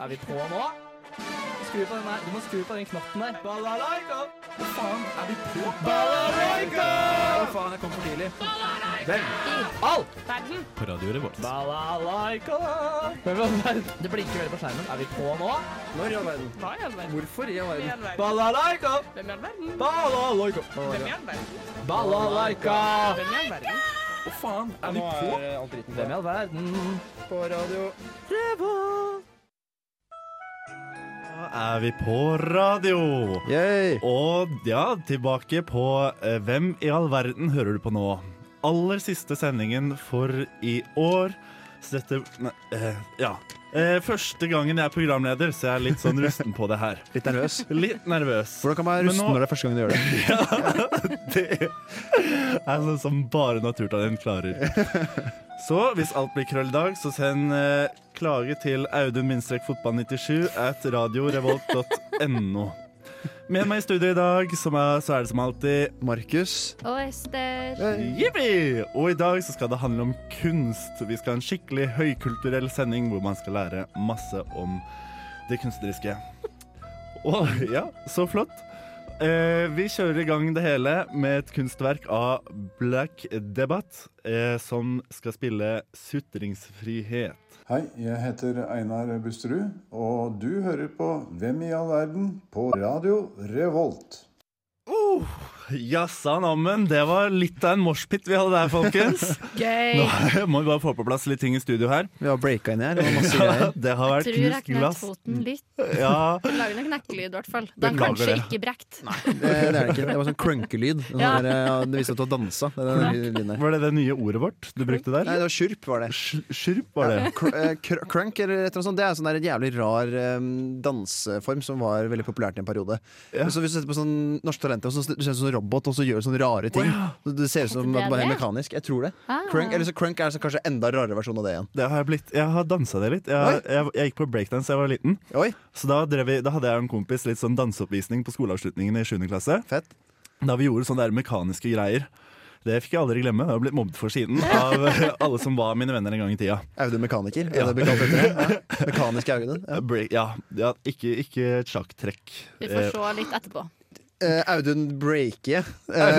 Er vi på nå? Skru på den der. Du må skru på den knotten der. Balalaika! Hva faen? Er vi på? Balalaika! Hva faen, jeg kom for tidlig. Hvem? Al! Verden. På radioen vår. Balalaika! Hvem er det? Det blinker veldig på skjermen. Er vi på nå? Når i all verden? Hva i all verden? Hvorfor i all Hvem i verden? all verden? Balalaika! Hvem i all verden? Balalaika! Hvem i all verden? Balalaika! Hvem i all verden? Hva faen? Er vi Nå på? alt dritten Hvem i all verden? På radio. Da er vi på radio. Yay. Og ja, tilbake på eh, Hvem i all verden hører du på nå? Aller siste sendingen for i år. Så dette Nei, eh, ja. Eh, første gangen jeg er programleder, så jeg er litt sånn rusten på det her. Litt nervøs. Litt nervøs. Hvordan kan man være Men rusten nå- når det er første gang du gjør det? Det er sånn som bare naturtalent klarer. Så hvis alt blir krøll i dag, så send eh, klage til audun-fotball97 at radiorevolt.no. Med meg i studio i dag som er, så er det som alltid Markus. Og Ester. Hey. Eh, Jippi! Og i dag så skal det handle om kunst. Vi skal ha en skikkelig høykulturell sending hvor man skal lære masse om det kunstneriske. Og ja, så flott. Eh, vi kjører i gang det hele med et kunstverk av Black Debatt eh, som skal spille sutringsfrihet. Hei, jeg heter Einar Busterud, og du hører på Hvem i all verden på Radio Revolt. Uh, Jassa nammen, det var litt av en moshpit vi hadde der, folkens. Gøy. Nå må vi bare få på plass litt ting i studio her. Vi har breaka inn her. Det var masse Ja, greier. det har vært Tror jeg knust knekk glass. foten litt. Ja, Den lager en knekkelyd, i hvert fall. Den Beklager kanskje det. ikke brekt. Det, det er det ikke. Det var sånn crunkelyd. Den Ja. der, ja, Det viste at du har dansa. Det, er den lyden der. Var det det nye ordet vårt du brukte Nei, der? det var skjurp, var det. Sj- Skjurp var det. Cr eh, cr crunk eller et eller annet sånt, det er sånn der en jævlig rar eh, danseform som var veldig populært i en periode. Ja. Så hvis du setter på sånn Norske Talenter, så du ser ut som en robot og så gjør du sånne rare ting. Så Det ser ut som Heter det at det bare er det? mekanisk. Jeg tror det. Ah. Crunk, eller så crunk er så kanskje enda rarere versjon av det igjen. Det har jeg blitt. Jeg har dansa det litt. Jeg, Oi. jeg, jeg gikk på breakdance da jeg var liten. Oi, Så da, drev vi, da hadde jeg og en kompis litt sånn danseoppvisning på skoleavslutningen i 7. klasse. fett. Da vi gjorde sånne der mekaniske greier. Det fikk jeg aldri glemme. Jeg har blitt mobbet for siden av alle som var mine venner en gang i tida. Audun mekaniker, er det det blir kalt etter det? Ja. Mekanisk Audun. Ja. Break, ja, ja, ikke, ikke et sjakktrekk. Vi Eh, får se litt etterpå. Eh, Audun Breakie. Eh,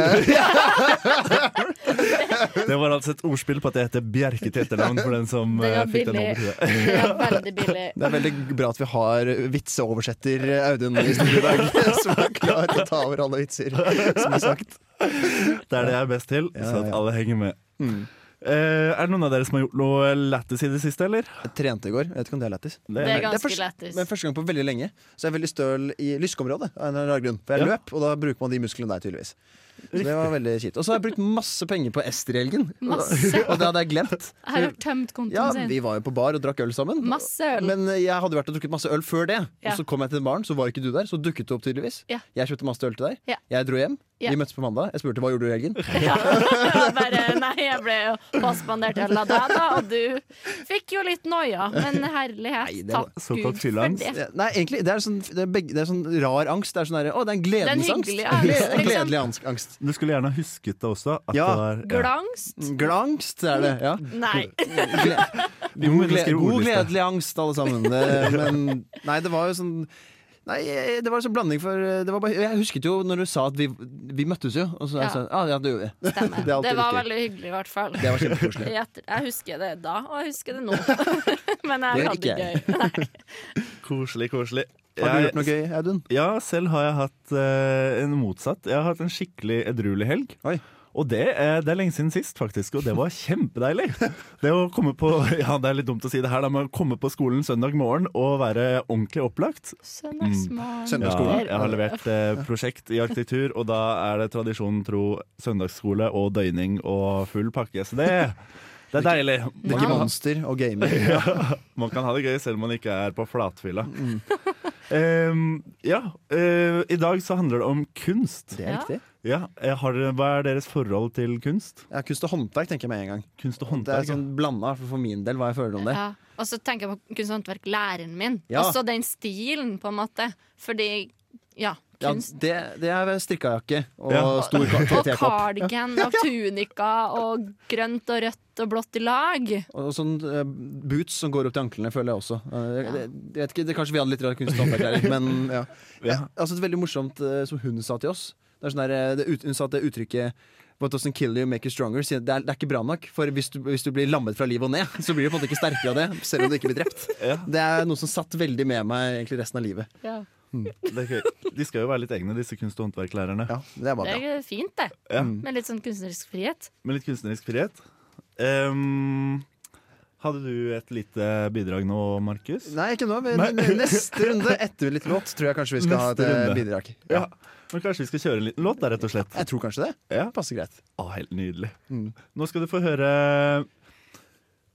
Det var altså et ordspill på at jeg heter Bjerke til etternavn, for den som Det eh, var fikk den billig. over til det. Det er veldig billig. det er veldig bra at vi har vitseoversetter Audun i studio i dag, som er klar til å ta over alle vitser, som er sagt. Det er det jeg er best til, Ja, så at ja. alle henger med. Mm. Eh, er det noen av dere som har gjort noe lættis i det siste, eller? Jeg trente i går. Jeg vet ikke om det er lættis. Det er Det er ganske først- lættis. Men første gang på veldig lenge Så er jeg veldig støl i lyskeområdet av en eller annen rar grunn. For jeg Ja. løp, og da bruker man de musklene der tydeligvis. Så det var veldig kjipt. Og så har jeg brukt masse penger på Ester i helgen. Masse. Og det hadde jeg glemt. Her har tømt Ja, kontoen sin. vi var jo på bar og drakk øl sammen. Masse øl. Men eh, jeg hadde vært og drukket masse øl før det. Ja. Og så kom jeg til den baren, så var ikke du der. Så dukket du opp tydeligvis. Ja. Jeg kjøpte masse øl til deg. Ja. Jeg dro hjem. Ja. Vi møttes på mandag. Jeg spurte hva gjorde du i helgen. Ja. Jeg bare, nei, jeg ble jo påspandert øl av deg, da, og du fikk jo litt noia. Men herlighet, Nei, det var takk såkalt Gud for fylleangst. det. Ja, Nei, egentlig, det er sånn, det er begge, det er sånn rar angst. Det er sånn der, Å, det er en er en gledens angst. hyggelig angst, Gled- liksom. Gledelig angst- angst. Du skulle gjerne ha husket det også. At Ja. det var, Glangst? Glangst er Mm. det, ja. Nei. Gle- Vi må God, begynne å gle skrive god ordliste. gledelig angst, alle sammen. Det, men nei, det var jo sånn Nei, det var en sånn blanding for det var bare, Jeg husket jo når du sa at vi, vi møttes jo, og så jeg Ja. sa ah, ja, det gjorde vi. Stemmer. Det er alltid Det var riktig. veldig hyggelig, i hvert fall. Det var kjempekoselig. I etter- Jeg husker det da, og jeg husker det nå. Men Det jeg gjør hadde det ikke gøy. Nei. Koselig, koselig. Har du Jeg- gjort noe gøy, Audun? Ja, selv har jeg hatt eh, en motsatt. Jeg har hatt en skikkelig edruelig helg. Oi. Og det, eh, det er lenge siden sist, faktisk, og det var kjempedeilig. Det å komme på Ja, det er litt dumt å si det her, da, men å komme på skolen søndag morgen og være ordentlig opplagt Søndagsmorgen. Ja, Søndagsskolen. jeg har levert eh, prosjekt i arkitektur, og da er det tradisjonen tro søndagsskole og døgning og full pakke. Så det, det er deilig. Drikke Man, Monster og gamer. man kan ha det gøy selv om man ikke er på flatfylla. Em, ja, eh, i dag så handler det om kunst. Det er Ja. riktig. Ja, eh, har, dere- hva er deres forhold til kunst? Ja, kunst og håndverk tenker jeg med en gang. Kunst og Det er håndverk? sånn blanda for for min del hva jeg føler om det. Ja. Og så tenker jeg på kunst og håndverk, læreren min. Ja. Også den stilen, på en måte. Fordi ja, Ja, kunst. det, det er strikkajakke og Ja. stor Og kvalitetjakke. cardigan og tunika og grønt og rødt og blått i lag. Og sånn eh, boots som går opp til anklene, føler jeg også. Eh, det, jeg vet ikke, det Kanskje vi hadde litt rar kunst- og håndverklærer, men ja. ja. Altså, det er veldig morsomt eh, som hun sa til oss. Det er sånn der, eh, det, ut- hun sa at det uttrykket What doesn't kill you, make you stronger. sier at Det er, det er ikke bra nok. For hvis du, hvis du blir lammet fra livet og ned, så blir du på en måte ikke sterkere av det. Selv om du ikke blir drept. Ja. Det er noe som satt veldig med meg egentlig resten av livet. Det er gøy. De skal jo være litt egne, disse kunst- og håndverklærerne. Ja, det er bare Det bra. er fint, det. Ja. Med litt sånn kunstnerisk frihet. Med litt kunstnerisk frihet. Ehm, hadde du et lite bidrag nå, Markus? Nei, ikke nå. Men Nei. neste runde, etter litt låt, tror jeg kanskje vi skal ha et Neste eh, runde. bidrag. Ja. Men kanskje vi skal kjøre en liten låt der, rett og slett? Jeg tror kanskje det. Ja. Passer greit. Å, helt nydelig. Mm. Nå skal du få høre eh,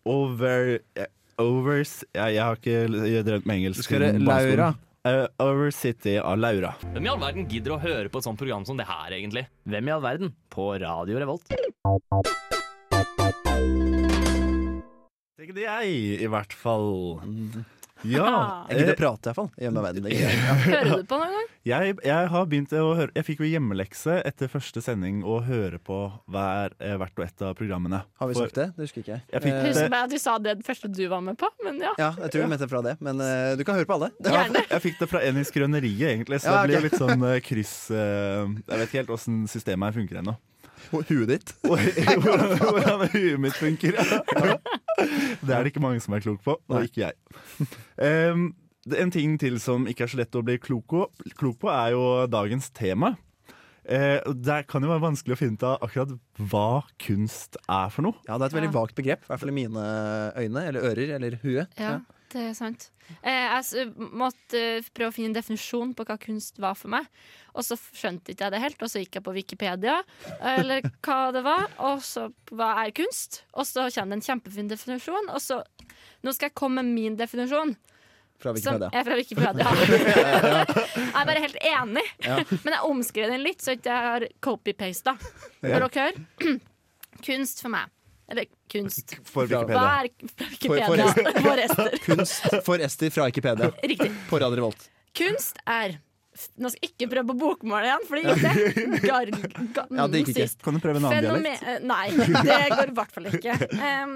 Over... eh, Overs Jeg, jeg har ikke drevet med engelsk. Du skal høre siden barneskolen. Laura. Eh, Over City av Laura. Hvem i all verden gidder å høre på et sånt program som det her, egentlig? Hvem i all verden? På Radio Revolt. Tenker det jeg, i hvert fall. Mm. Ja. Jeg gidder eh, å prate, iallfall. Hjemme av verden. Det er greit. Hører du på noen gang? Jeg, jeg har begynt å høre Jeg fikk jo hjemmelekse etter første sending å høre på hver, eh, hvert og ett av programmene. Har vi For- sagt det? Det husker ikke jeg. Jeg fikk Eh, Jeg det. Husker bare at du sa det det første du var med på, men ja. Ja, jeg tror vi mente fra det, men eh, du kan høre på alle. Ja, jeg fikk det fra en i skrøneriet, egentlig, så Ja, det blir ok. litt sånn eh, kryss eh, Jeg vet ikke helt åssen systemet her funker ennå. Huet ditt. Hvordan, hvordan huet mitt funker. Det er det ikke mange som er klok på, og ikke jeg. Em, det- en ting til som ikke er så lett å bli klok på, klok på er jo dagens tema. Eh, og det kan jo være vanskelig å finne ut av akkurat hva kunst er for noe. Ja, det er et veldig Ja. vagt begrep, i hvert fall i mine øyne. Eller ører, eller hue. Ja, det er sant. Eh, jeg s- måtte eh, prøve å finne en definisjon på hva kunst var for meg, og så f- skjønte ikke jeg det helt, og så gikk jeg på Wikipedia, eller hva det var, og så p- hva er kunst? Og så kommer det en kjempefin definisjon, og så Nå skal jeg komme med min definisjon, Fra som Wikipedia. er fra Wikipedia. jeg er bare helt enig, men jeg omskrev den litt, så ikke jeg har copy-pasta. Vil dere høre? Kunst for meg. Eller kunst. For Hva Wikipedia. er fra Wikipedia? For- For rester. Kunst for Esti fra Wikipedia. Riktig. På Radio Revolt. Kunst er Nå skal jeg ikke prøve på bokmål igjen, for det gikk det. Gar, ga, Ja, det gikk ikke. sist. Kan du prøve en annen dialekt? Fenomen- eh, Nei, det går i hvert fall ikke. Um,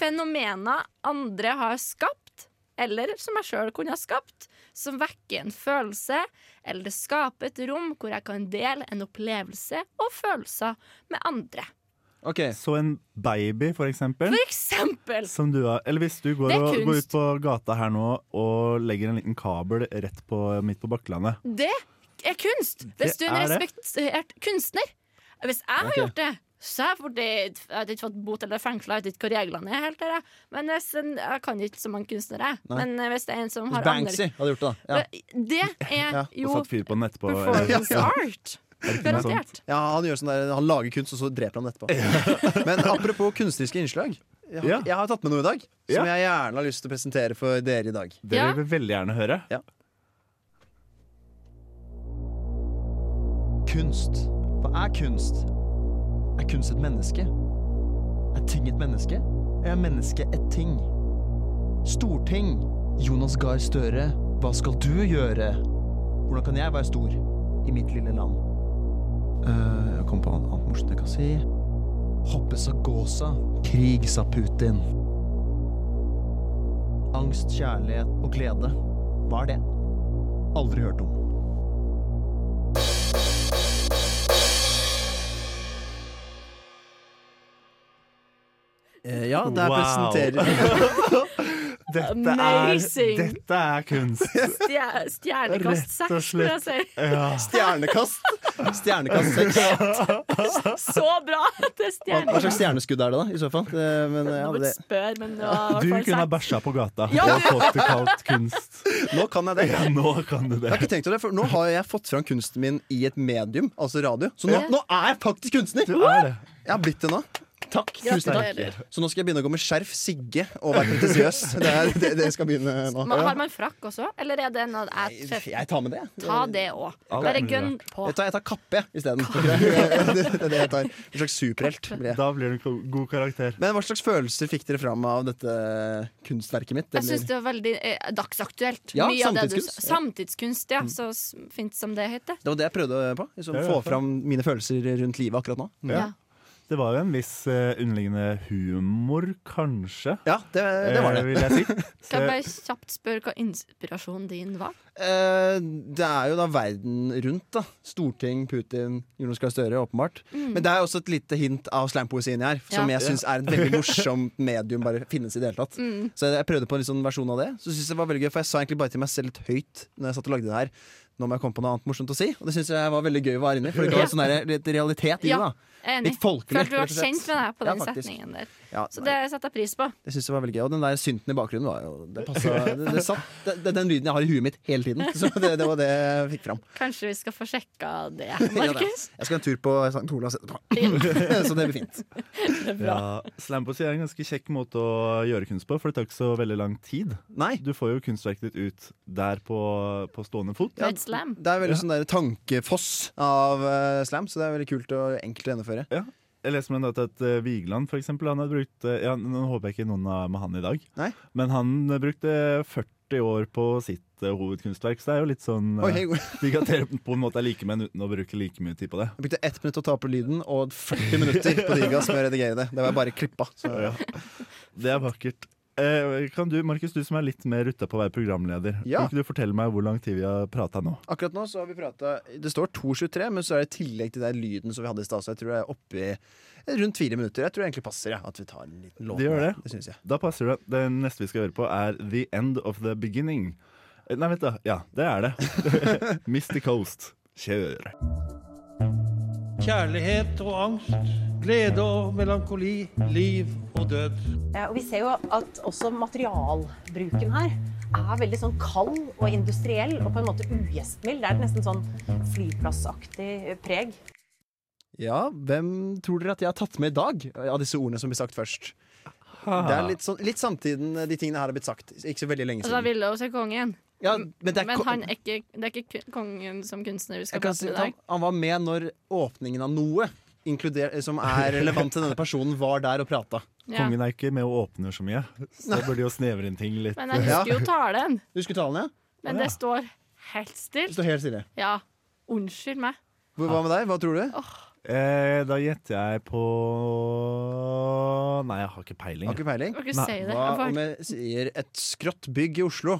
fenomena andre har skapt, eller som jeg sjøl kunne ha skapt, som vekker en følelse, eller skaper et rom hvor jeg kan dele en opplevelse og følelser med andre. Ok, Så en baby, for eksempel. For eksempel! Som du har, eller hvis du går, Det er og, går kunst. ut på gata her nå og legger en liten kabel rett på, midt på Bakklandet. Det er kunst! Hvis du Det er en er det. respektert kunstner. Hvis jeg har gjort det, så har jeg fått, det- jeg hadde ikke fått bot eller fengsla. Jeg vet ikke hva reglene er helt der. jeg. Men hvis en, jeg kan ikke så mange kunstnere. Nei. Men eh, hvis det er en som har Banksy hadde gjort det, da. andre Ja. Det er Ja, og jo Og satt fyr på den etterpå. eh, eller- performance art. Garantert. ja, han gjør sånn der, han lager kunst, og så dreper han det etterpå. Men apropos kunstneriske innslag. Jeg har, Ja. jeg har tatt med noe i dag Ja. som jeg gjerne har lyst til å presentere for dere i dag. Det Ja. vil vi veldig gjerne høre. Kunst. Hva er kunst? Er kunst et menneske? Er ting et menneske? Eller er mennesket et ting? Storting. Jonas Gahr Støre, hva skal du gjøre? Hvordan kan jeg være stor i mitt lille land? Eh, jeg kom på noe annet morsomt jeg kan si. Hoppe sa gåsa. Krig, sa Putin. Angst, kjærlighet og glede. Hva er det? Aldri hørt om. Eh, Ja, der Wow. presenterer Dette Amazing. Er, dette er kunst. Stjer- Rett Stjernekast og seks, vil jeg si. Ja. Stjernekast. Stjernekast seks. Så bra! Det Hva, hva er slags stjernekast. stjerneskudd er det, da? I så fall. Det, men, ja, Nå bare det, spør, men det var Du i hvert kunne ha fall bæsja på gata Ja, og fått det kalt kunst. nå kan jeg det. Ja, nå kan du Jeg har det. ikke tenkt over det, for Nå har jeg fått fram kunsten min i et medium, altså radio. Så nå, nå er jeg faktisk kunstner! Du er det. Jeg har blitt det nå. Takk. Tusen takk. Gratulerer. Så nå skal jeg begynne å gå med skjerf, sigge og være pretensiøs. Det, er- det, det skal begynne nå. Men Har man frakk også, eller er det noe jeg Jeg jeg tar med det. jeg. Ta det òg. Bare gønn på. Jeg tar, jeg tar kappe jeg, isteden. Det er det jeg tar. En slags superhelt. blir jeg. Da blir du en ko- god karakter. Men hva slags følelser fikk dere fram av dette kunstverket mitt? Det Jeg syns blir- det var veldig eh, dagsaktuelt. Ja, Mye av det du samtidskunst. Mm. sa. Samtidskunst, ja. Så s- fint som det heter. det var det jeg prøvde på. Liksom, Ja, ja, få ja. fram mine følelser rundt livet akkurat nå. Ja. Det var jo en viss eh, underliggende humor, kanskje. Ja, det, det var eh, det. Vil jeg si. Kan jeg Så- bare kjapt spørre hva inspirasjonen din var? Eh, Det er jo da verden rundt. da Storting, Putin, Jonas Gahr Støre, åpenbart. Men det er også et lite hint av slampoesien jeg er, som Mm. Ja. jeg syns er et veldig morsomt medium. Bare finnes i det hele tatt Mm. Så jeg prøvde på en litt sånn versjon av det. Så synes jeg det var veldig gøy For jeg sa egentlig bare til meg selv litt høyt Når jeg satt og lagde det her. Nå må jeg komme på noe annet morsomt å si. Og det syns jeg var veldig gøy å være inni. For det ga Ja. jo sånn der, litt realitet i det. Ja, da enig. Litt folkelig. Følte du rett og var slett. kjent med deg på Ja, den faktisk. setningen der. Ja, Så nei, det setter jeg pris på. det synes jeg var veldig gøy. Og den der synten i bakgrunnen var jo Det passa. Det, det satt, det, det, er den lyden jeg har i huet mitt hele tiden. Så det, det var det jeg fikk fram. Kanskje vi skal få sjekka det, Ja, det er. Markus? Jeg skal en tur på St. Olavs etterpå. Så det blir fint. Ja, Slampoesi er en ganske kjekk måte å gjøre kunst på, for det tar ikke så veldig lang tid. Nei. Du får jo kunstverket ditt ut der på, på stående fot. Med et slam. Det er veldig sånn der tankefoss av eh, slam, så det er veldig kult og enkelt å gjennomføre. Jeg leser med en data at eh, Vigeland for eksempel, han hadde brukt eh, ja, Nå håper jeg ikke noen har med han i dag, Nei. men han eh, brukte 40 år på sitt eh, hovedkunstverk, så det er jo litt sånn eh, Oi, hei, jeg De kan dele på en måte er likemenn uten å bruke like mye tid på det. brukte ett minutt å ta på lyden og 40 minutter på digas med å redigere det. Det var bare klippa. Så. Ja. Det er vakkert. Eh, kan du, Markus, du som er litt mer rutta på å være programleder, Ja. kan ikke du fortelle meg hvor lang tid vi har prata nå? Akkurat nå så har vi prata Det står 2.23, men så er det i tillegg til den lyden som vi hadde i stad, så jeg tror det er oppi rundt fire minutter. Jeg tror det egentlig passer jeg, at vi tar en liten låt. Det gjør nå. det. det synes jeg. Da passer det. Det neste vi skal høre på, er The End of the Beginning. Eh, Nei, vent, da. Ja, det er det. Misty Coast. Kjør. Kjærlighet og angst, glede og melankoli, liv og død. Eh, Og vi ser jo at også materialbruken her er veldig sånn kald og industriell og på en måte ugjestmild. Det er et nesten sånn flyplassaktig preg. Ja, hvem tror dere at jeg har tatt med i dag av disse ordene som blir sagt først? Det er litt, sånn, litt samtiden eh, de tingene her har blitt sagt. Ikke så veldig lenge Og Altså, da siden. ville vi se kongen. Ja, men det er Men ko- han er ikke, det er ikke kun- kongen som kunstner vi skal jeg kan prate si med i at han, dag. han var med når åpningen av noe inkluder, som er relevant til denne personen, var der og prata. Ja. Kongen er ikke med og åpner så mye, så burde jo snevre inn ting litt. Men jeg husker jo talen. Husker du talen, ja? Men det står helt Det stilt. Står helt stille. Ja. Unnskyld meg. Hva hva med deg? Hva tror du? Eh, da gjetter jeg på Nei, jeg har ikke peiling. Har ikke peiling. Kan ikke Nei, si det. Hva om Jeg, jeg sier et skrått bygg i Oslo?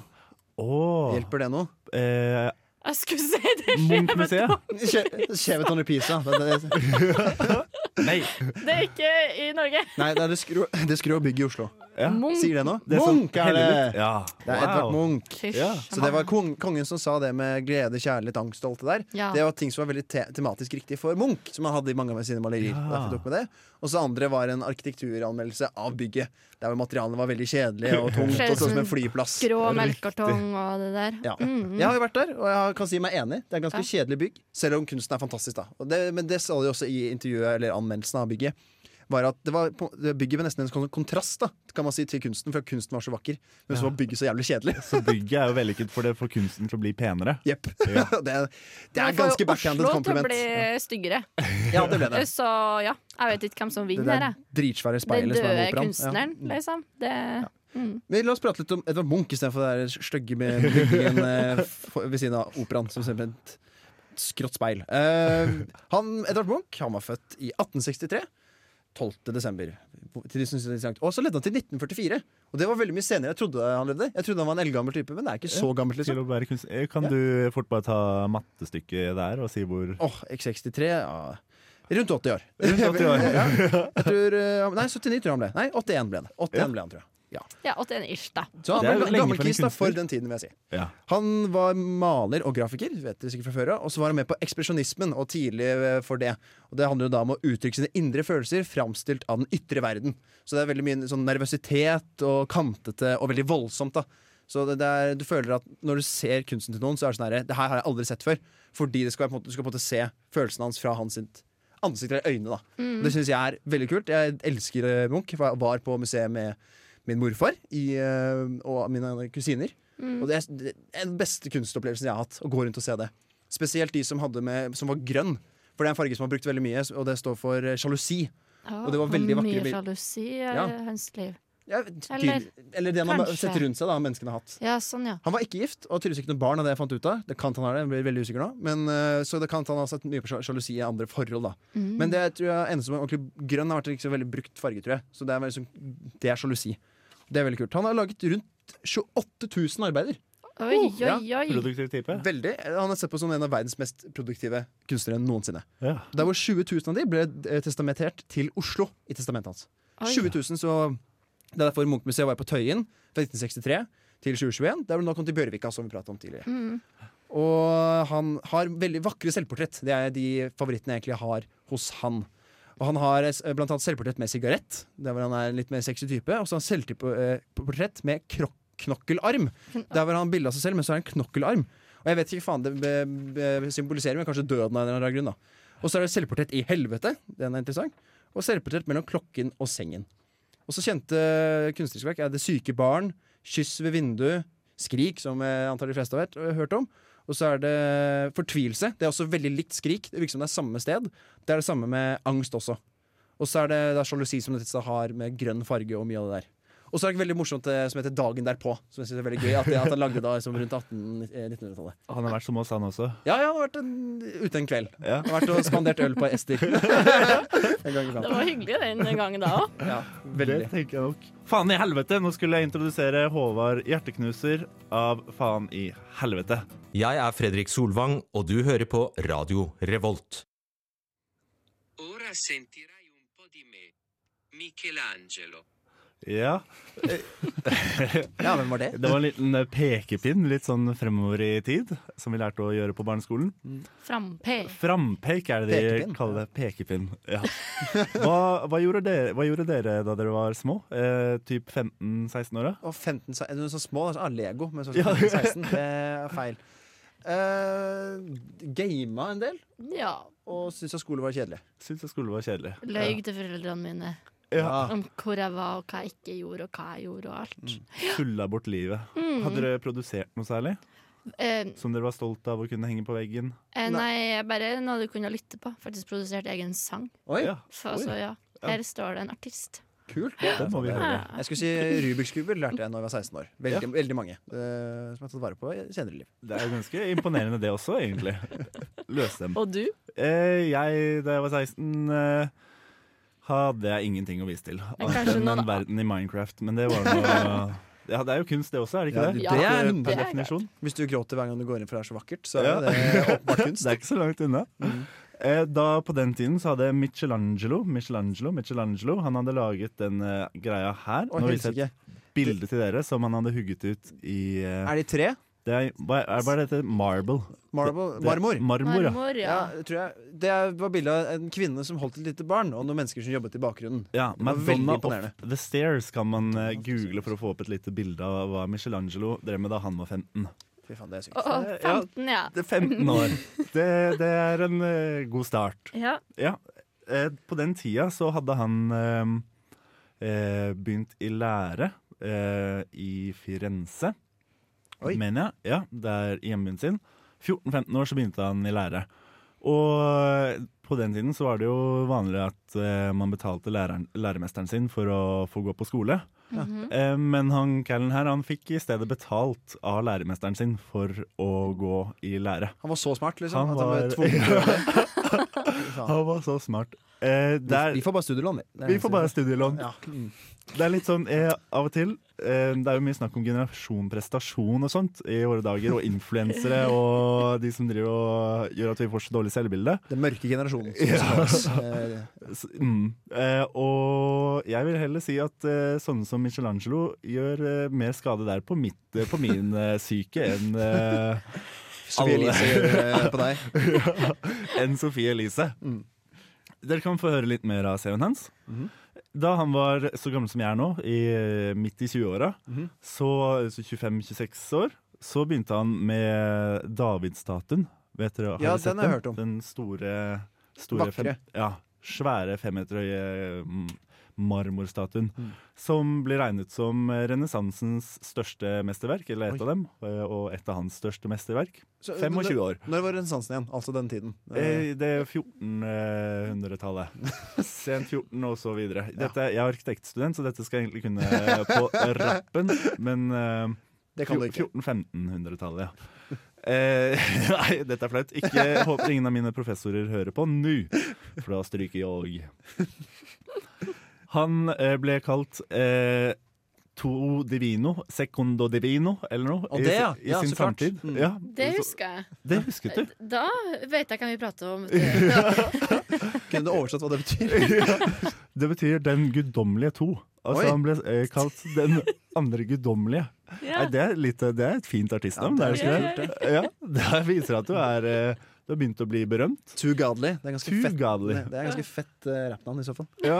Åh, Hjelper det noe? eh, jeg skulle si det. Munch-museet? Skjeveton i Pisa. Det, det, det. Nei. Det er ikke i Norge. Nei, det er det skrå, det skrå bygget i Oslo. Ja. Munch. Sier det noe? Det er sånn- Munch er det! Heldigvis. Ja. Det er Edvard Wow. Munch. Fysj. Ja, Så det var kong, kongen som sa det med glede, kjærlighet, angst og alt det der. Ja. Det var ting som var veldig te tematisk riktig for Munch, som han hadde i mange av sine malerier. Ja. Derfor tok med det. Og så andre var en arkitekturanmeldelse av bygget, der hvor materialene var veldig kjedelige og tungt, Skjedde og sånn som som en en flyplass. Grå melkekartong og det der. Ja. mm. Jeg har jo vært der, og jeg kan si meg enig. Det er ganske kjedelig bygg, selv om kunsten er fantastisk. da og det, Men det sa de også i intervjuet, eller anmeldelsen av bygget. Var at det var på- det Bygget var nesten en sånn kontrast da Kan man si til kunsten, for kunsten var så vakker. Men så var bygget så jævlig kjedelig. Så bygget er jo vellykket, for det får kunsten til å bli penere. Jepp. det, er- det er Men et får jo ganske backhanded Oslo til å kompliment. bli styggere. Ja, det ble det. Så ja, jeg vet ikke hvem som Det vinner. der jeg. dritsvære Den speilet som er døde med operaen. kunstneren, Ja. Mm. liksom. Det, Men la oss prate litt om Edvard Munch istedenfor det der stygge med bygningen eh, for- ved siden av operaen. Som ser et skrått speil. Eh, han, Edvard Munch han var født i 1863. 12. desember. Til de som synes det er interessant. Og så ledde han til 1944. Og det var veldig mye senere enn jeg trodde han levde. Jeg trodde han var en eldgammel type, men det er ikke så gammelt. liksom Til å være kunst- Eh, Kan du fort bare ta mattestykket der og si hvor Åh, X63 ja. Rundt 80 år. Rundt 80 år. ja. Jeg tror, eh, nei, 79 tror jeg han ble. Nei, 81 ble han. 81 ble han, tror jeg. ja, 81-ish, da. Så han Det er var jo ga- lenge gammel for en kis da, kunstner. for den tiden, vil jeg si. Ja. Han var maler og grafiker, vet dere sikkert fra før av. Og så var han med på ekspresjonismen, og tidlig eh, for det. Og det handler jo da om å uttrykke sine indre følelser framstilt av den ytre verden. Så det er veldig mye sånn nervøsitet og kantete og veldig voldsomt, da. Så det, det er, du føler at når du ser kunsten til noen, så er det sånn herre Det her har jeg aldri sett før. Fordi det skal, være på en måte, du skal på en måte se følelsen hans fra hans sitt ansikter eller øyne. Da. Mm. Det syns jeg er veldig kult. Jeg elsker eh, Munch. Jeg var på museet med min morfar i, eh, og mine kusiner. Mm. Og det er det er den beste kunstopplevelsen jeg har hatt. Å gå rundt og se det. Spesielt de som, hadde med, som var grønn. For det er en farge som har brukt veldig mye, og det står for eh, sjalusi. og det var veldig vakre Mye bilder. sjalusi i Ja. eh, hans liv. Eller, eller det man kanskje. setter rundt seg, da, menneskene har hatt. Ja, sånn, ja. Han var ikke gift, og tydeligvis ikke noe barn av det jeg fant ut av. Det kan han ha det, jeg blir veldig usikker nå men, eh, Så det kan han ha sett mye på sjal- sjalusi i andre forhold, da. Mm. Men det tror jeg ender som ordentlig grønn har vært en ikke så veldig brukt farge, tror jeg. Så det er, veldig sånn- det er sjalusi. Det er veldig kult. Han har laget rundt 28 000 arbeider. Oi, oi, oi. Produktiv type. Veldig. Han er sett på som en av verdens mest produktive kunstnere noensinne. Der hvor 20 000 av de ble eh, testamentert til Oslo i testamentet hans. Oi. 20 000, så Det er derfor Munch-museet var på Tøyen fra 1963 til 2021. Der hvor det nå kom til Bjørvika, som vi pratet om tidligere. Mm. Og han har veldig vakre selvportrett. Det er de favorittene jeg egentlig har hos han. Og han har eh, s- blant annet selvportrett med sigarett, der hvor han er en litt mer sexy type. Og så har han selvportrett med krok knokkelarm, der hvor han bildet seg selv, men så er det en knokkelarm. Og jeg vet ikke faen det be- be- symboliserer, men kanskje døden av en eller annen grunn. da Og så er det selvportrett i helvete, den er interessant. Og selvportrett mellom klokken og sengen. Og så kjente kunstneriske verk er Det syke barn, Kyss ved vindu, Skrik, som jeg antar de fleste har hørt, hørt om. Og så er det Fortvilelse. Det er også veldig likt Skrik. Det virker som det er samme sted. Det er det samme med angst også. Og så er det, det er sjalusi som dette har med grønn farge og mye av det der. Og så er det veldig morsomt eh, som heter Dagen derpå. Som jeg synes er veldig gøy At, det, at han lagde da liksom, rundt 1800-tallet. Han har vært som oss, han også. Ja, ja, han har vært en, ute en kveld. Ja. Han har vært og spandert øl på Ester. en gang iblant. Det var hyggelig den gangen da òg. Ja, Det tenker jeg nok. Faen i helvete! Nå skulle jeg introdusere Håvard Hjerteknuser av Faen i helvete. Jeg er Fredrik Solvang, og du hører på Radio Revolt. Ora sentirai un po' di me. Michelangelo. Ja. ja, hvem var det? Det var en liten eh, pekepinn litt sånn fremover i tid, som vi lærte å gjøre på barneskolen. Frampe. Frampeik er det de Pekepinn. kaller det. Pekepinn. Ja. Hva, hva, gjorde dere, hva gjorde dere da dere var små? Eh, typ 15-16 år? da? Og 15, se- er det noen så små, altså, ah, Lego, men så Ja. 15, 16, det er feil. Eh, Gama en del, Ja. og syntes at skole var kjedelig. Syntes at skole var kjedelig. Løy til foreldrene mine Ja. om hvor jeg var, og hva jeg ikke gjorde, og hva jeg gjorde, og alt. Mm. Tulla bort livet. Mm. Hadde dere produsert noe særlig? Eh, Som dere var stolt av å kunne henge på veggen? eh, nei, jeg bare noe du kunne lytte på. Faktisk produsert egen sang. Oi. Ja. Så, Oi. så ja. Ja. Her står det en artist. Kult. Det må vi høre. Jeg skulle si Rubiks kuber lærte jeg da jeg var 16 år. Veldig, veldig mange eh, som jeg har tatt vare på i senere liv. Det er ganske imponerende det også, egentlig. Løse dem. Og du? Eh, jeg, da jeg var 16, eh, hadde jeg ingenting å vise til. Men Annet kanskje enn noen- en verden i Minecraft. Men det var noe Ja, det er jo kunst, det også, er det ikke det? Ja, det er Per det er- definisjon. Hvis du gråter hver gang du går inn, for det er så vakkert, så er Ja. det åpenbart kunst. Det er ikke så langt unna. Mm. Eh, Da På den tiden så hadde Michelangelo Michelangelo, Michelangelo Han hadde laget den eh, greia her. Å, Nå helsike. viser jeg et bilde til dere som han hadde hugget ut i eh, Er de tre? Det er, hva er hva er det det heter? Marble. Marble, Det- det- marmor. Marmor, ja. Ja, det, tror jeg, det var bilde av en kvinne som holdt et lite barn, og noen mennesker som jobbet i bakgrunnen. Ja, Det var Madonna veldig imponerende. of the Stairs kan man eh, google for å få opp et lite bilde av hva Michelangelo drev med da han var 15. Fy faen, det er Å, å, 15, ja. Det er 15 år. Det, det er en eh, god start. Ja. Eh, på den tida så hadde han eh, eh, begynt i lære eh, i Firenze, mener jeg. Ja, det er i hjembyen sin. 14-15 år så begynte han i lære. Og eh, på den tiden så var det jo vanlig at eh, man betalte læreren, læremesteren sin for å få gå på skole. Mhm. Eh, Men han Callen her han fikk i stedet betalt av læremesteren sin for å gå i lære. Han var så smart, liksom? Han at han ble var- tvunget til å gjøre det. Han var så smart. Eh, der, Vi får bare studielån, vi. Det er vi det får eneste. bare studielån. Ja. Mm. Det er litt sånn eh, av og til eh, Det er jo mye snakk om generasjon, prestasjon og sånt i våre dager. Og influensere og de som driver og gjør at vi får så dårlig selvbilde. Den mørke generasjonen. Ja. Eh, Så, Mm. Eh, og jeg vil heller si at eh, sånne som Michelangelo gjør eh, mer skade der på, mitt, eh, på min eh, psyke enn eh, Sophie alle- Elise gjør, eh, på ja, enn Sophie Elise. Dere kan få høre litt mer av CV-en hans. Da han var så gammel som jeg er nå, i, eh, midt i 20-åra, Mhm. så, så 25-26 år, så begynte han med Davidstatuen. Vet dere, har Ja, dere sett den har jeg hørt om. Den store store Vakre. fem- ja, svære femmeter høye mm, marmorstatuen. Mm. Som blir regnet som eh, renessansens største mesterverk, eller et av dem. eh, Og et av hans største mesterverk. Så, 25 år. Når var renessansen igjen? Altså den tiden. Eh, Det er 1400-tallet. Sent 14 og så videre. Dette, jeg er arkitektstudent, så dette skal jeg egentlig kunne eh, på rappen. Men eh, Det kan du ikke. 1400-1500-tallet, ja. Eh, nei, dette er flaut. Ikke jeg håper ingen av mine professorer hører på nå, for da stryker jeg. Han eh, ble kalt eh, To divino, secondo divino, eller noe, Og det, i, ja. i Ja, sin så klart. samtid. Mm. Ja, Det så- husker jeg. Det husket du. Da vet jeg hvem vi prater om. vet du. Kunne du oversatt hva det betyr? Det betyr den guddommelige to. Altså Oi. Han ble eh, kalt den andre guddommelige. Ja. Nei, det, er litt, eh, det er et fint artistnavn. Ja, det det er er det ikke det? Ja, det viser at du er eh, Du har begynt å bli berømt. Too godly. Det er ganske Too fett, godly. Mm. det er ganske fett uh, rappnavn, i så fall. Ja.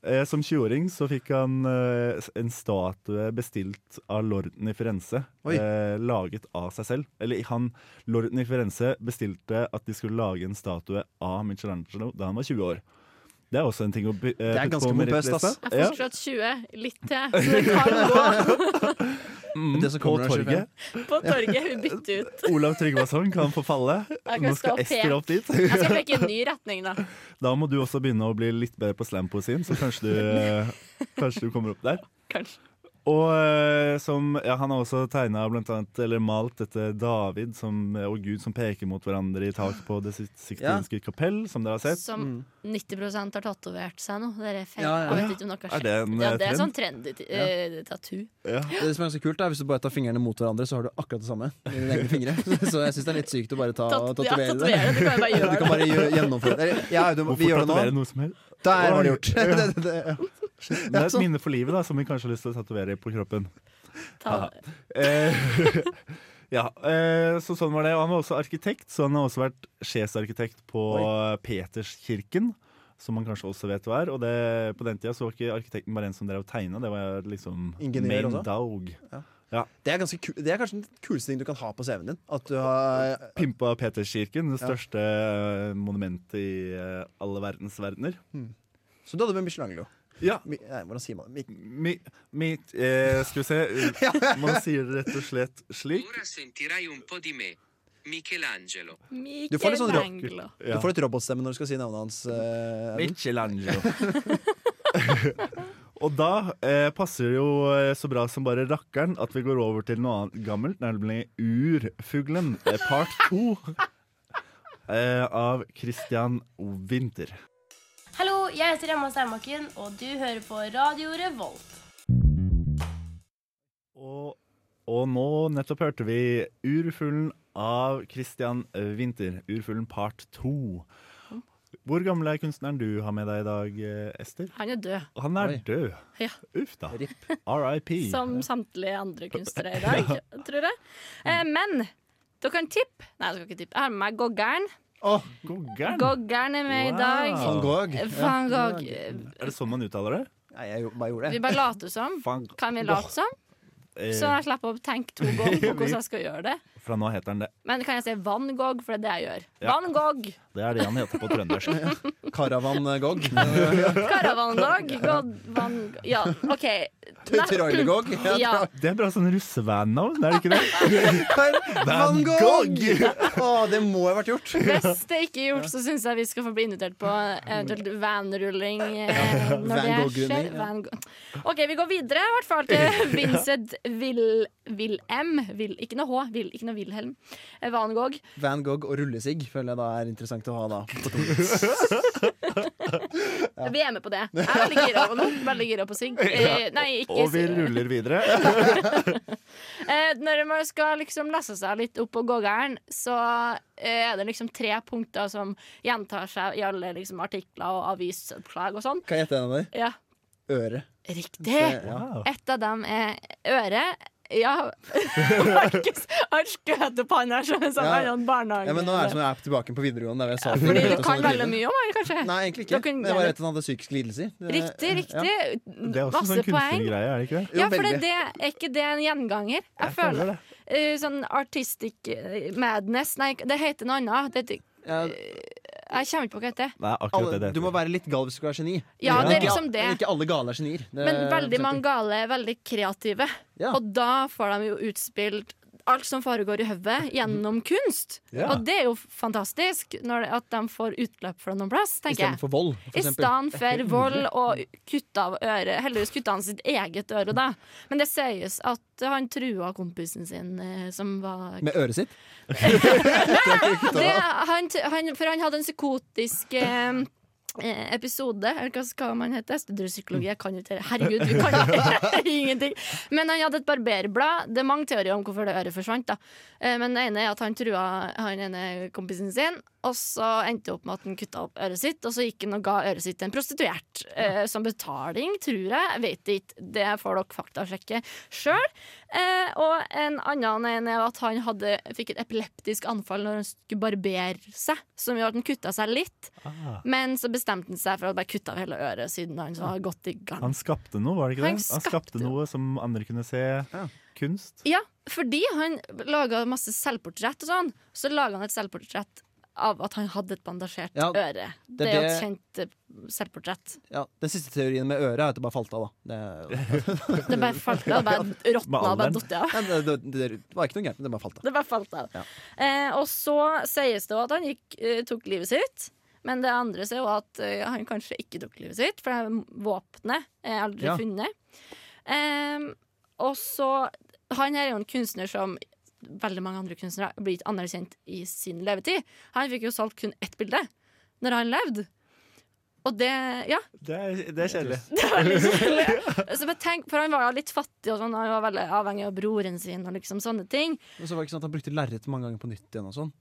Eh, Som 20-åring så fikk han eh, s- en statue bestilt av lorden i Firenze. Oi. Eh, laget av seg selv. Eller han, lorden i Firenze bestilte at de skulle lage en statue av Michelangelo da han var 20 år. Det er også en ting å by- eh, Det er putte ganske på pompøst, merittlista. ass. Jeg Ja. får fortsatt 20. Litt til, så det kan gå. Mm, Det som på kommer når det er torget. På torget. Vi bytter ut. Olav Tryggvason kan få falle. Jeg Nå kan stå skal Ester opp dit. Jeg skal peke i en ny retning, da. Da må du også begynne å bli litt bedre på slampoesien, så kanskje du, kanskje du kommer opp der. Kanskje. Og eh, som, ja, han har også tegna blant annet, eller malt dette David som, og Gud som peker mot hverandre i taket på Det Sikt- siktinske kapell, som dere har sett. Som 90 har tatovert seg nå. Dere er feil. Ja, ja, Jeg ja. vet ikke om dere har Er det sett. en, ja, eh, det er sånn trend? trendy eh, tattoo. Det som er ganske kult er Hvis du bare tar fingrene mot hverandre, så har du akkurat det samme. I dine egne fingre Så jeg syns det er litt sykt å bare ta og Tat- ja, tatovere det. tatovere det. Du kan jo bare gjøre Du kan bare gjø- gjennomføre det. Eller, Ja, du, vi Hvorfor gjør tatovere det nå. noe som helst? Der var det gjort. Oi. Det- det- det- ja. Shit, Det er et minne for livet da, som vi kanskje har lyst til å tatovere på kroppen. Ta Haha. Eh, ja, eh, så sånn var det. Og han var også arkitekt, så han har også vært sjefsarkitekt på Peterskirken. Som man kanskje også vet hva er. Og det, på den tida så var ikke arkitekten bare en som drev og tegna, det var liksom Ingeniør main også? dog. Ja. Ja. Det er, ganske ku- det er kanskje den kuleste ting du kan ha på CV-en din. At du har Pimpa Peterskirken, det Ja. største eh, monumentet i eh, alle verdens verdener. Hmm. Så du hadde med Michelangelo. Ja. Mi, nei, hvordan sier man det? Mi, Mi, mitt, eh, skal vi se Man sier det rett og slett slik. Ora sentirai un po' di me, Michelangelo. du får litt sånn ro Du får litt robotstemme når du skal si navnet hans. eh, Erlend. Michelangelo. Og da eh, passer det jo eh, så bra som bare rakkeren at vi går over til noe annet gammelt, nemlig Urfuglen, eh, part to eh, av Christian Winther. Hallo, jeg heter Emma Steinbakken, og du hører på Radio Revolt. Og, og nå nettopp hørte vi Urfuglen av Christian eh, Winther. Urfuglen part to. Hvor gammel er kunstneren du har med deg i dag, eh, Ester? Han er død. Han er Oi. død. Ja. Uff da. RIP. Som samtlige andre kunstnere i dag, tror jeg. Eh, Mm. men dere kan tippe Nei, dere kan ikke tippe. Jeg har med meg Goggern. Oh, Goggern. Goggern er med i dag. Van Gogh. Eh, Van Gogh. Er det sånn man uttaler det? Nei, jeg bare gjorde Vi bare later som. Van Kan vi late som? Eh, Så jeg slipper å tenke to ganger på hvordan jeg skal gjøre det. Fra nå heter han det. Men kan jeg si Van Gogh, for det er det jeg gjør. Ja. Van Gogh. Det er det han heter på trøndersk. Karavan Gogg. Karavangog. God- Van Gogh. Ja, OK. Troilegog. Ja. Det er bra sånn russevannavn, er det ikke det? Van Gogh! Å, det må ha vært gjort. Hvis det ikke er gjort, så syns jeg vi skal få bli invitert på eventuelt vanrulling. eh, Når Van det Gogh-rulling, skjer. ja. Van Gogh. OK, vi går videre i hvert fall til Vincent Vil... Vil-M. Vil, ikke noe H, Vil, ikke noe Wilhelm. Eh, Van Gogh. Van Gogh og rullesigg føler jeg da er interessant å ha da. Vi er med på det. Jeg er veldig gira på noe. Veldig gira på sigg. Eh, Nei, ikke Og vi ruller videre. Eh, når man skal liksom lese seg litt opp på gågeren, så eh, er det liksom tre punkter som gjentar seg i alle liksom, artikler og avisoppslag og sånn. Kan jeg gjette en av dem? Ja, Øre. riktig! Det- ja. Et av dem er øre. Ja Markus har skjøtepanne, jeg skjønner, som Ja. er en barnehage. Ja, men nå er det sånn- som jeg er tilbake på videregående. Der jeg sa Fordi du kan veldig mye om det, kanskje? Nei, egentlig ikke. Dere kunne- Men jeg var rett til han hadde psykisk lidelse. i. Det- Riktig, riktig. Ja. Det er også en Masse sånn poeng. kunstnergreie, er det ikke Ja, for det, det, er ikke det en gjenganger? Jeg, føler, føler eh, sånn artistic eh, madness Nei, det heter noe annet. Det, heter- Ja, Jeg kommer ikke på hva det heter. Det er akkurat alle, det det Du må være litt gal hvis du skal være geni. Ja, det er Ikke- liksom det. Ikke alle gale er genier. Det Men er- veldig mange gale er veldig kreative. Og da får de jo utspilt alt som foregår i hodet, gjennom kunst. Mhm. Ja. Og det er jo fantastisk når det, at de får utløp fra noen plass, tenker jeg. Istedenfor vold, for I eksempel. stedet Det er for helt vold nydelig. og kutte av øret. Heldigvis kutta han sitt eget øre, da. Men det sies at han trua kompisen sin, eh, som var Med øret sitt? det, han, han, for han hadde en psykotisk eh, eh, episode, eller hva skal man hete? Jeg Studerer psykologi, jeg kan jo ikke det. Herregud, vi kan jo ingenting. Men han hadde et barberblad. Det er mange teorier om hvorfor det øret forsvant, da. Eh, Men det ene er at han trua han ene kompisen sin, og så endte det opp med at han kutta opp øret sitt, og så gikk han og ga øret sitt til en prostituert. eh, Som betaling, tror jeg. Jeg Vet ikke. Det får dere faktasjekke sjøl. Eh, og en annen en er at han hadde, fikk et epileptisk anfall når han skulle barbere seg, som gjorde at han kutta seg litt. Men så bestemte han seg for å bare kutte av hele øret, siden han var godt i gang. Han skapte noe, var det ikke det? Han Han skapte noe som andre kunne se. Kunst. Ja, fordi han laga masse selvportrett og sånn. Så laga han et selvportrett av at han hadde et bandasjert Ja, øre. det Det er jo et ble- kjent eh, selvportrett. Ja, Den siste teorien med øret er at det bare falt av, da. Det, Det bare falt av, bare råtna og bare datt av. Ja, det, det, det var ikke noe gærent, men det bare falt av. Det bare falt av. Eh, og så sies det jo at han gikk, eh, tok livet sitt. Men det andre er jo at eh, han kanskje ikke tok livet sitt, for det våpenet er aldri Ja. funnet. Em, og så Han her er jo en kunstner som veldig mange andre kunstnere blir ikke anerkjent i sin levetid. Han fikk jo solgt kun ett bilde når han levde. Og det Ja. Det er, det er kjedelig. Så bare tenk, for han var jo litt fattig, og sånn, han var veldig avhengig av broren sin og liksom sånne ting. Men så var det ikke sånn at han brukte lerret mange ganger på nytt igjen og sånn.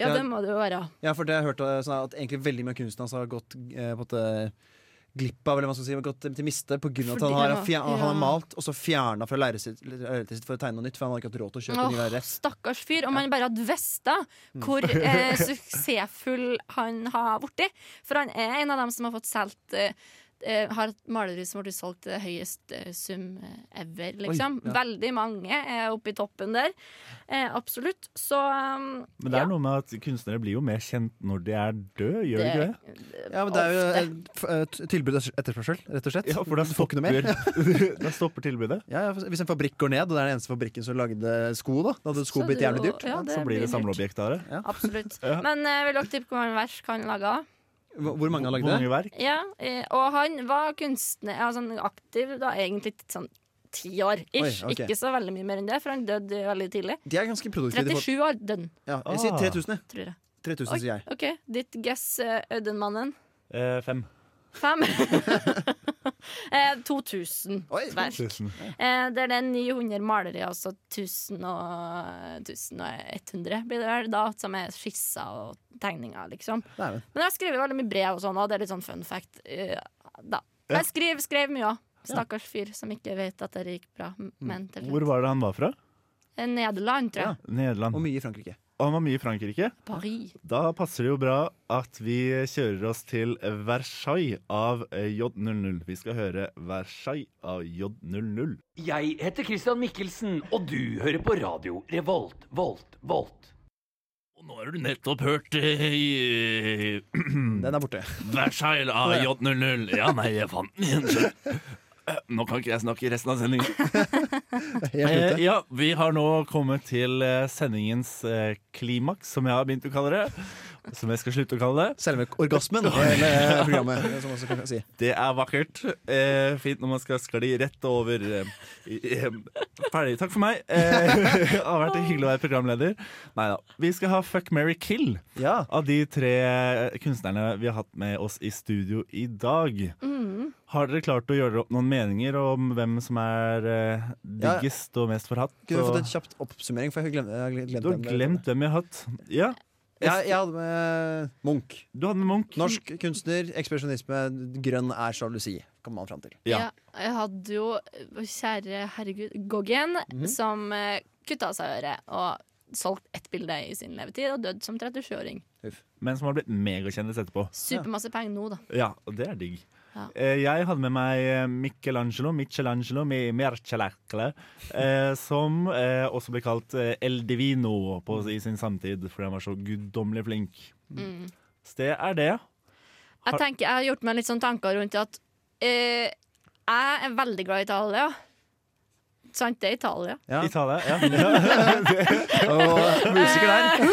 Ja, det må det jo være. Ja, for det har jeg hørt eh, sånn at egentlig veldig mye av kunsten hans har gått eh, på en måte glipp av, eller hva man skal si, gått til miste på grunn av at Fordi han har, han har- fjer- han har ja. malt og så fjerna fra lerretet sitt, lerretet sitt for å tegne noe nytt, for han hadde ikke hatt råd til å kjøpe Åh, ny lerret. stakkars fyr. Om han bare hadde visst da Mm. hvor eh, suksessfull han har blitt. For han er en av dem som har fått solgt eh, eh, har et maleri som har blitt solgt til høyest eh, sum eh, ever, liksom. ja. Veldig mange er oppe i toppen der. Eh, absolutt. Så um, Men det er noe med at kunstnere blir jo mer kjent når de er døde, gjør de ikke det? Ja, men det er jo eh, f- eh, t- tilbud og etterspørsel, rett og slett. Ja, for da Du får ikke noe mer. Da stopper tilbudet. Ja, ja, Hvis en fabrikk går ned, og det er den eneste fabrikken som lagde sko, da Da hadde sko Så blitt det er jævlig jo- dyrt. ja, det Så blir det blir dyrt. samleobjekt av det. Absolutt. Ja. Men eh, vil dere tippe hvor mange vers han laga? Hvor hvor mange har lagd Hvor det? mange verk? Ja, eh, og han var kunstner ja, sånn aktiv da egentlig t- sånn ti år ish. Oi, ok. Ikke så veldig mye mer enn det, for han døde veldig tidlig. De er ganske produktive. de får- 37 år døden. Ja, jeg sier Ah. 3000, jeg. Tror jeg. 3000 sier jeg. OK, ditt guess, eh, Audun-mannen. Eh, fem. Fem. eh, 2000 hver. Tusen. Eh, det er det 900 malerier, altså 1000 og, 1100 blir det vel da, som er skisser og tegninger, liksom. Dæven. Men jeg skriver veldig mye brev og sånn, og det er litt sånn fun fact. eh, da. Jeg skriver, skrev mye òg. Stakkars fyr som ikke vet at det gikk bra. m- Men til Hvor var det han var fra? Eh, Nederland, tror jeg. Nederland. Og mye i Frankrike. Og han var mye i Frankrike. Paris. Da passer det jo bra at vi kjører oss til Versailles av eh, J00. Vi skal høre Versailles av J00. Jeg heter Christian Mikkelsen, og du hører på radio Revolt, Volt, Volt. Og nå har du nettopp hørt eh, Mm. Den er Eh. borte. Versailles av J00. Ja, nei, jeg fant den igjen. sjø. Eh, Nå kan ikke jeg snakke i resten av sendingen. Eh, ja, vi har nå kommet til eh, sendingens eh, klimaks, som jeg har begynt å kalle det. Som jeg skal slutte å kalle det. Selve orgasmen. Hele programmet, som man også kan si. Det er vakkert. Eh, fint når man skal skli rett over. Eh, i- eh, ferdig. Takk for meg. Eh, det har vært hyggelig å være programleder. Nei da. Vi skal ha Fuck, marry, kill av de tre eh, kunstnerne vi har hatt med oss i studio i dag. Mm. Har dere klart å gjøre opp noen meninger om hvem som er eh, Ja. diggest og mest forhatt? Kunne vi og- fått en kjapt oppsummering, for jeg har glemt, jeg har glemt Du har hvem det er. glemt hvem jeg har hatt? Ja. Ja, jeg hadde med Munch. Du hadde med Munch Norsk kunstner, ekspresjonisme, grønn er sjalusi, kommer man fram til. Ja. Jeg hadde jo, eh, kjære herregud, Goggen, Mhm. som eh, kutta av seg øret og solgt ett bilde i sin levetid, og døde som 37-åring. Men som har blitt megakjendis etterpå. Supermasse penger nå, da. Ja, og det er digg. Ja. Eh, Jeg hadde med meg eh, Michelangelo, Michelangelo Mi- Mercelacle, eh, som eh, også ble kalt eh, El Divino på, i sin samtid, fordi han var så guddommelig flink. Mm. sted er det? Jeg tenker, jeg har gjort meg litt sånn tanker rundt at eh, jeg er veldig glad i Italia. Sant, det er Italia. Italia? Ja. Og musiker der.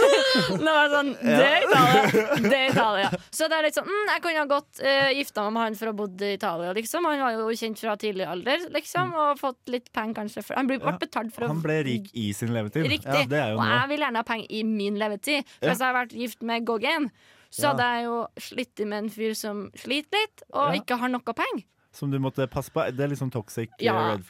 Nå var det sånn Det er Italia! Det er Italia. Så det er litt sånn mm, Jeg kunne ha godt eh, gifta meg med han for å ha bodd i Italia, liksom. Han var jo kjent fra tidlig alder, liksom, og fått litt penger, kanskje. For, han blir ble betalt for å Han ble rik i sin levetid. Riktig. Ja, det er jo og noe. jeg vil gjerne ha penger i min levetid. For Ja. hvis jeg hadde vært gift med Goggen, så Ja. hadde jeg jo slitt med en fyr som sliter litt, og Ja. ikke har noe penger. Som du måtte passe på. Det er litt sånn toxic eh, Ja. red Ja.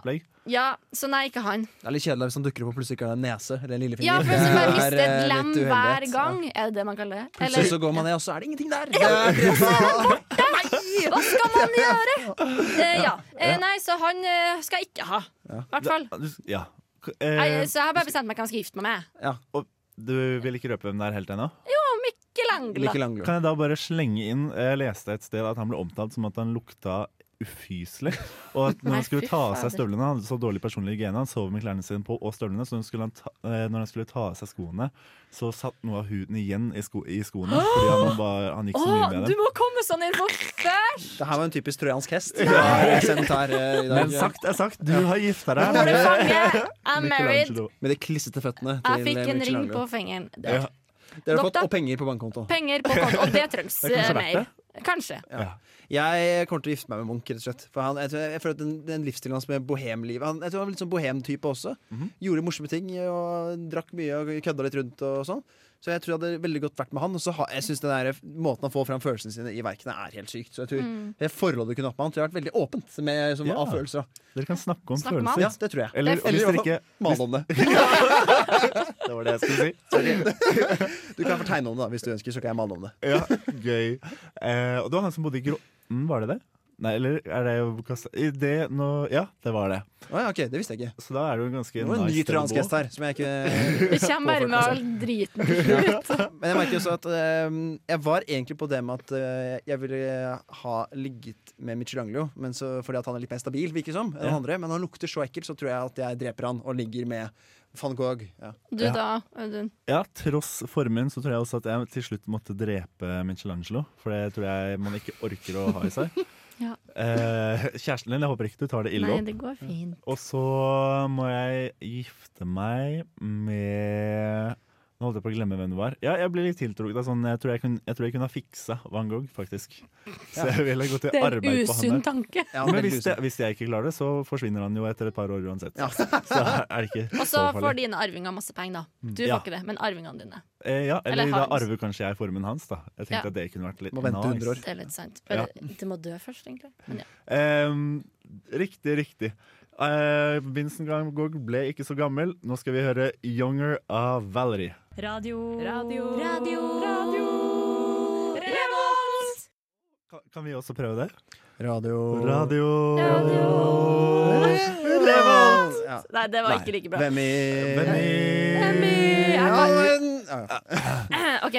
flag-opplegg. Ja, så nei, ikke han. Det er litt kjedelig hvis han dukker opp og plutselig ikke har en nese eller en lillefinger. Ja, for hvis man Det er, mister eh, et lem litt hver uheldighet. gang, er det det man kaller det? Plutselig så går man ned, og så er det ingenting der! Hva skal man gjøre?! Eh, ja. Eh, nei, så han eh, skal jeg ikke ha. Ja. Hvert fall. Du- Ja. K- Nei, eh, så jeg har bare bestemt meg hva jeg skal gifte meg med. ja. Og du vil ikke røpe hvem det er helt ennå? Jo, Michelangelo. Kan jeg da bare slenge inn Jeg leste et sted at han ble omtalt som at han lukta ufyselig. Og at når Nei, han skulle fy ta av seg fader. støvlene Han hadde så dårlig personlig hygiene, han sov med klærne sine på og støvlene, så når han skulle, han ta, eh, når han skulle ta av seg skoene, så satt noe av huden igjen i, sko, i skoene. Fordi han, var, han gikk Å, så mye med du dem. må komme sånn inn på først! Det her var en typisk trojansk hest. Det var sendt her eh, i dag. Men sagt er sagt, du har gifta deg Nå er du med fange. I'm married. Michelangelo. Med de klissete føttene Jeg til eh, fikk en ring Michelangelo. på fingeren. Det Ja. Dere har Nok fått da. og penger på bankkonto. Penger på konto, og det trengs Det er kanskje eh, verdt mer. Kanskje. Ja. Jeg kommer til å gifte meg med Munch. rett og slett For han, jeg, tror, jeg føler at den, den livsstilen hans med bohemlivet han, Jeg tror han var litt sånn bohem-type også. Mhm. Gjorde morsomme ting og drakk mye og kødda litt rundt. og sånn Så jeg tror jeg hadde veldig godt vært med han. Og så har- jeg synes den der, Måten han får fram følelsene sine i verkene, er helt sykt. Så jeg tror Mm. det forholdet du kunne hatt med han, tror jeg har vært veldig åpent med, som, Ja. av følelser. Dere kan snakke om Snakke med han. følelser. Ja, det tror jeg. Eller, Det er hvis fint. dere ikke Male om det. Det var det jeg skulle si. Du kan fortegne om det da, hvis du ønsker, så kan jeg male om det. Ja, gøy. Eh, og det var han som bodde i Grotten, var det det? Nei, eller er det jo Kassa- i det nå, Ja, det var det. ok, Det visste jeg ikke. Så da er det jo ganske Det var en ny nice sted å trojansk bo. hest her. Som jeg ikke Du kommer bare med all driten ut. Men jeg merker også at eh, jeg var egentlig på det med at eh, jeg ville ha ligget med Michelangelo, men så, fordi at han er litt mer stabil, virker det som, enn Ja. han andre. Men han lukter så ekkelt, så tror jeg at jeg dreper han og ligger med van Gogh. Ja. Du da, Audun. Ja, tross formen så tror jeg også at jeg til slutt måtte drepe Michelangelo. For det tror jeg man ikke orker å ha i seg. Ja. Eh, kjæresten din, jeg håper ikke du tar det ille Nei, opp. det går fint. Og så må jeg gifte meg med Nå holdt jeg på å glemme hvem det var. Ja, jeg ble litt tiltrukket av sånn Jeg tror jeg kunne, jeg tror jeg kunne ha fiksa Van Gogh, faktisk. Så jeg ville gått Det til er en arbeid på han. usunn der. tanke. Ja, Men veldig hvis jeg, hvis jeg ikke klarer det, så forsvinner han jo etter et par år uansett. Så er det ikke Og så så får farlig. dine arvinger masse penger, Mm. da. Du Ja. får ikke det, men arvingene dine. Eh, ja, eller, eller da hans. arver kanskje jeg formen hans, da. Jeg tenkte Ja. at det kunne vært litt Må vente 100 nice. år. Det er litt sant. Ja. Bare, Du må dø først, egentlig. Men ja. Ehm, riktig, riktig. Eh, Vincent Van Gogh ble ikke så gammel. Nå skal vi høre 'Younger' av Valerie. Radio. Radio. Radio. Radio. Revolt! Kan, kan vi også prøve det? Radio Radio, Revolt! Ja. Nei, det var ikke like bra. Hvem i Hvem i- Jeg Ja, var- men- ja, ja. OK.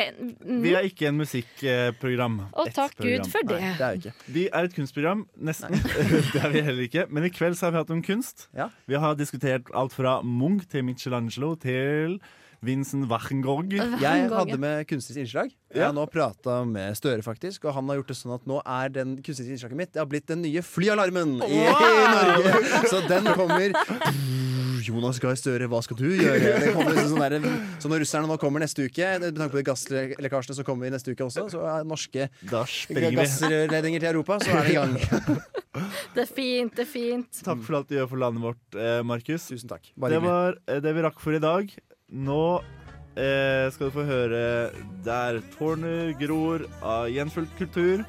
mm. Vi er ikke en musikkprogram. Å, Et takk Gud for det. Nei, det er vi er et kunstprogram. Nesten. det er vi heller ikke. Men i kveld så har vi hatt om kunst. Vi har diskutert alt fra Munch til Michelangelo til Vincent Wachengorg. Jeg hadde med kunstig innslag. Jeg Ja. har nå prata med Støre, faktisk, og han har gjort det sånn at nå er den kunstige innslaget mitt Det har blitt den nye flyalarmen i, i Wow! Norge. Så den kommer. Jonas Gahr Støre, hva skal du gjøre? Det kommer liksom sånn der, så når russerne nå kommer neste uke, med tanke på de gasslekkasjene som kommer neste uke også, så er norske vi. gassrørledninger til Europa, så er det i gang. Det er fint, det er fint. Takk for alt du gjør for landet vårt, eh, Markus. Tusen takk. det var eh, det vi rakk for i dag. Nå eh, skal du få høre 'Der tårnet gror' av Gjenfullt kultur.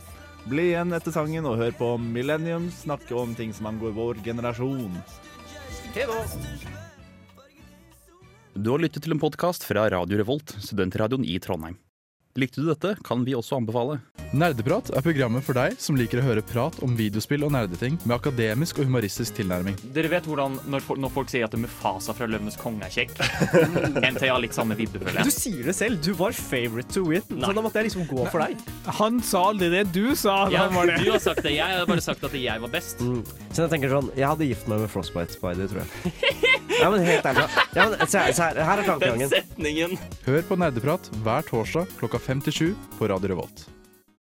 Bli igjen etter sangen og hør på Millennium snakke om ting som angår vår generasjon. Du har lyttet til en podkast fra Radio Revolt, studentradioen i Trondheim. Likte du dette, kan vi også anbefale. Nerdeprat er programmet for deg som liker å høre prat om videospill og nerdeting med akademisk og humoristisk tilnærming. Dere vet hvordan når folk, når folk sier at Mufasa fra Løvenes konge er kjekk? MT har litt samme vidde, føler Du jeg. sier det selv. Du var favorite to win. Så da måtte jeg liksom gå for Nei. deg. Han sa aldri det du sa. Ja, du har sagt det. Mm. Jeg har bare sagt at jeg var best. Så jeg tenker sånn, jeg hadde gift meg med Frostbite Spider, tror jeg. Ja, men helt ærlig. Ja, men, se, her- se her, her er Den tankegangen. setningen. Hør på Nerdeprat hver torsdag klokka fem til sju på Radio Revolt.